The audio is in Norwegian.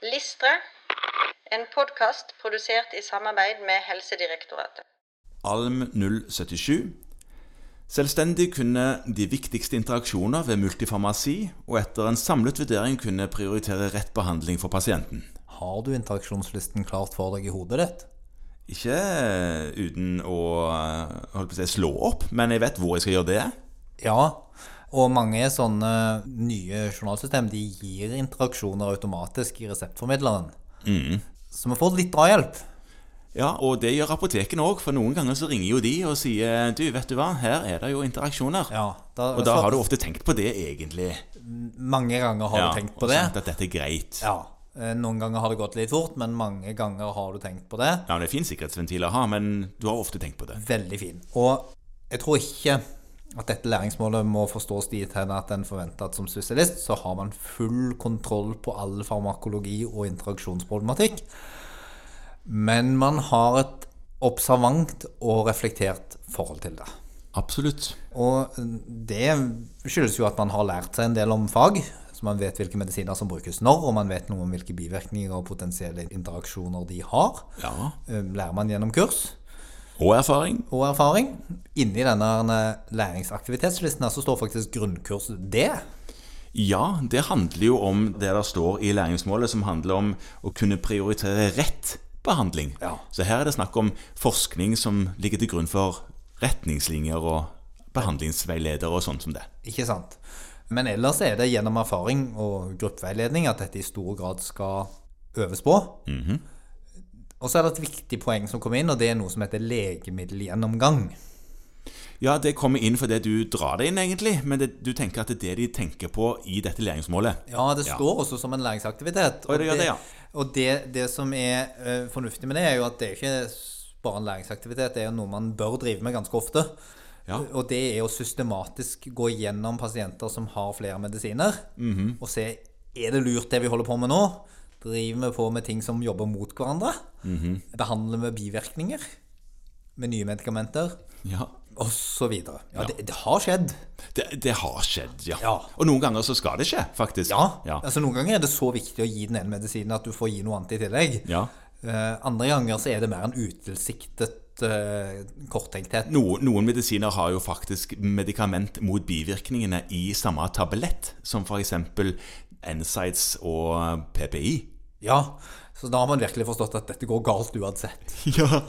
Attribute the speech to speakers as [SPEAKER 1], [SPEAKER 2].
[SPEAKER 1] Listre, en podkast produsert i samarbeid med Helsedirektoratet.
[SPEAKER 2] ALM 077. Selvstendig kunne de viktigste interaksjoner ved multifarmasi, og etter en samlet vurdering kunne prioritere rett behandling for pasienten.
[SPEAKER 3] Har du interaksjonslisten klart for deg i hodet ditt?
[SPEAKER 2] Ikke eh, uten å eh, holdt på å si, slå opp, men jeg vet hvor jeg skal gjøre det.
[SPEAKER 3] Ja. Og mange sånne nye journalsystem de gir interaksjoner automatisk i reseptformidleren.
[SPEAKER 2] Mm.
[SPEAKER 3] Så vi får litt drahjelp.
[SPEAKER 2] Ja, Og det gjør apotekene òg, for noen ganger så ringer jo de og sier du, vet du hva, her er det jo interaksjoner.
[SPEAKER 3] Ja, da-
[SPEAKER 2] og da
[SPEAKER 3] så-
[SPEAKER 2] har du ofte tenkt på det, egentlig.
[SPEAKER 3] Mange ganger har
[SPEAKER 2] Ja,
[SPEAKER 3] du tenkt på
[SPEAKER 2] og
[SPEAKER 3] det.
[SPEAKER 2] sant At dette er greit. Ja,
[SPEAKER 3] Ja. Eh, Noen ganger har det gått litt fort, men mange ganger har du tenkt på det.
[SPEAKER 2] men Det er fin sikkerhetsventil å ha, men du har ofte tenkt på det.
[SPEAKER 3] Veldig fin. Og jeg tror ikke at dette læringsmålet må forstås dit hen at en forventer at som spesialist så har man full kontroll på all farmakologi og interaksjonsproblematikk. Men man har et observant og reflektert forhold til det.
[SPEAKER 2] Absolutt.
[SPEAKER 3] Og det skyldes jo at man har lært seg en del om fag. Så man vet hvilke medisiner som brukes når, og man vet noe om hvilke bivirkninger og potensielle interaksjoner de har.
[SPEAKER 2] Ja.
[SPEAKER 3] Eh, Lærer man gjennom kurs
[SPEAKER 2] Og erfaring.
[SPEAKER 3] og erfaring. Inni denne her læringsaktivitetslisten her så står faktisk grunnkurs D.
[SPEAKER 2] Ja, det handler jo om det der står i læringsmålet, som handler om å kunne prioritere rett behandling.
[SPEAKER 3] Ja.
[SPEAKER 2] Så her er det snakk om forskning som ligger til grunn for retningslinjer og behandlingsveiledere og sånt som det.
[SPEAKER 3] Ikke sant? Men ellers er det gjennom erfaring og gruppeveiledning at dette i stor grad skal øves på. Og så er det et viktig poeng som kom inn, og det er noe som heter legemiddelgjennomgang.
[SPEAKER 2] Ja, det kommer inn fordi du drar det inn, egentlig, men det, du tenker at det er det de tenker på i dette læringsmålet.
[SPEAKER 3] Ja, det
[SPEAKER 2] Ja.
[SPEAKER 3] står også som en læringsaktivitet.
[SPEAKER 2] Oi, det gjør det, ja.
[SPEAKER 3] og det, det som er eh, fornuftig med det, er jo at det er ikke s- bare en læringsaktivitet, det er jo noe man bør drive med ganske ofte.
[SPEAKER 2] Ja.
[SPEAKER 3] Og det er å systematisk gå gjennom pasienter som har flere medisiner,
[SPEAKER 2] Mhm.
[SPEAKER 3] og se er det lurt det vi holder på med nå. Driver vi på med ting som jobber mot hverandre?
[SPEAKER 2] Mhm.
[SPEAKER 3] Behandler vi bivirkninger med nye medikamenter?
[SPEAKER 2] Ja.
[SPEAKER 3] Og så videre. Ja, Det, det har skjedd.
[SPEAKER 2] Det, det har skjedd, ja.
[SPEAKER 3] Ja.
[SPEAKER 2] Og noen ganger så skal det skje, faktisk.
[SPEAKER 3] Ja.
[SPEAKER 2] ja.
[SPEAKER 3] altså Noen ganger er det så viktig å gi den ene medisinen at du får gi noe annet i tillegg.
[SPEAKER 2] Ja.
[SPEAKER 3] Eh, andre ganger så er det mer en utilsiktet eh, korttenkthet.
[SPEAKER 2] Noen, noen medisiner har jo faktisk medikament mot bivirkningene i samme tablett, som f.eks. NSIDES og PPI.
[SPEAKER 3] Ja, Så da har man virkelig forstått at dette går galt uansett.
[SPEAKER 2] Ja.